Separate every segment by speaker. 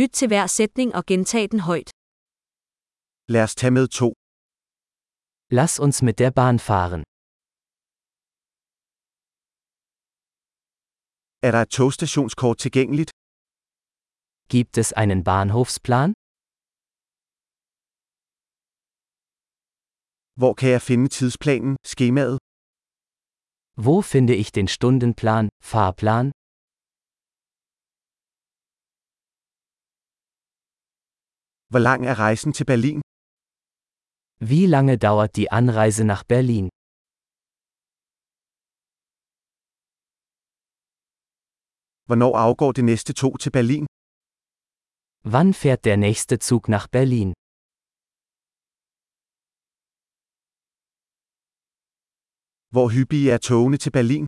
Speaker 1: Lyt til hver sætning og gentag den højt.
Speaker 2: Lad os tage med to.
Speaker 3: Lass uns mit der Bahn fahren.
Speaker 2: Er der et togstationskort tilgængeligt?
Speaker 3: Gibt es einen Bahnhofsplan?
Speaker 2: Hvor kan jeg finde tidsplanen, skemaet?
Speaker 3: Wo finde ich den Stundenplan, Fahrplan?
Speaker 2: Hvor lang er rejsen til Berlin?
Speaker 3: Wie lange dauert die Anreise nach Berlin?
Speaker 2: Hvornår afgår det næste tog til Berlin?
Speaker 3: Wann fährt der nächste Zug nach Berlin?
Speaker 2: Hvor hyppige er togene til Berlin?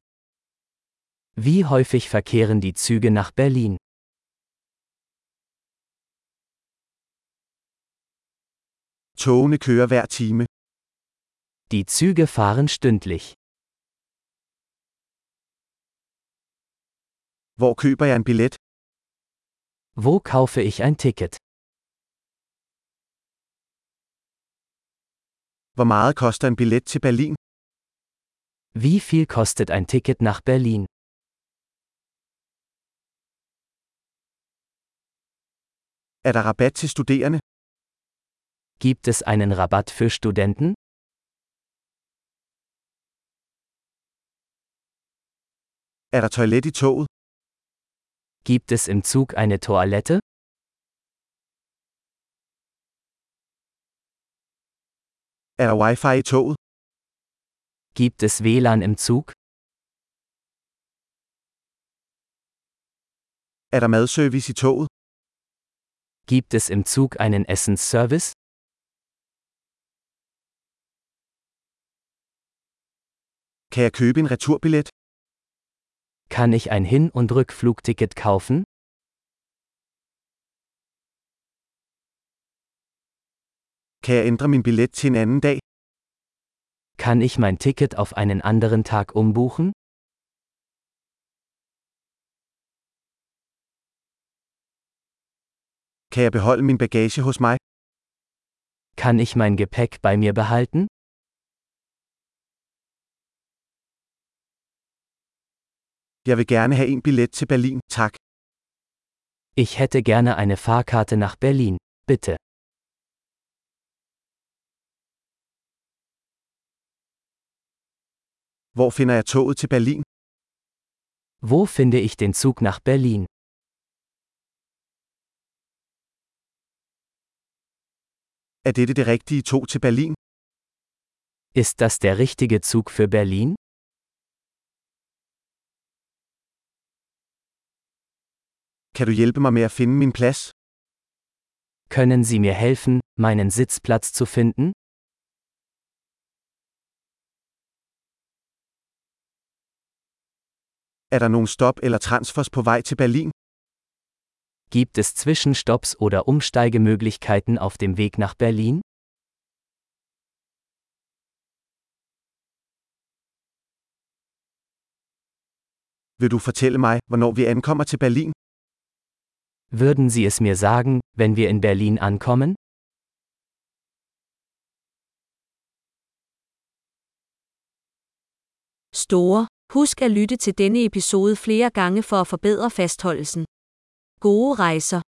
Speaker 3: Wie häufig verkehren die Züge nach Berlin?
Speaker 2: Togene kører hver time.
Speaker 3: Die Züge fahren stündlich.
Speaker 2: Hvor køber jeg en billet?
Speaker 3: Wo kaufe ich ein Ticket?
Speaker 2: Hvor meget koster en billet til Berlin?
Speaker 3: Wie viel kostet ein Ticket nach Berlin?
Speaker 2: Er der rabat til studerende?
Speaker 3: Gibt es einen Rabatt für Studenten?
Speaker 2: Er der toilet i toget?
Speaker 3: Gibt es im Zug eine Toilette?
Speaker 2: Er der wifi i toget?
Speaker 3: Gibt es WLAN im Zug?
Speaker 2: Er der madservice i toget?
Speaker 3: Gibt es im Zug einen Essensservice?
Speaker 2: Kan jeg købe en returbillet?
Speaker 3: Kann ich ein Hin- und Rückflugticket kaufen?
Speaker 2: Kan jeg ændre min billet til en anden dag?
Speaker 3: Kann ich mein Ticket auf einen anderen Tag umbuchen?
Speaker 2: Kan jeg beholde min bagage hos mig?
Speaker 3: Kann ich mein Gepäck bei mir behalten?
Speaker 2: Jeg vil gerne have en billet til Berlin, tak.
Speaker 3: Ich hätte gerne eine Fahrkarte nach Berlin, bitte.
Speaker 2: Hvor finder jeg toget til Berlin?
Speaker 3: Wo finde ich den Zug nach Berlin?
Speaker 2: Er dette det rigtige tog til Berlin?
Speaker 3: Ist das der richtige Zug für Berlin?
Speaker 2: Kan du hjælpe mig med at finde min plads?
Speaker 3: Können Sie mir helfen, meinen Sitzplatz zu finden?
Speaker 2: Er der nogen stop eller transfers på vej til Berlin?
Speaker 3: Gibt es Zwischenstopps oder Umsteigemöglichkeiten auf dem Weg nach Berlin?
Speaker 2: Vil du fortælle mig, hvornår vi ankommer til Berlin?
Speaker 3: Würden Sie es mir sagen, wenn wir in Berlin ankommen?
Speaker 1: Store. Husk at lytte til denne episode flere gange for at forbedre fastholdelsen. Gode rejser.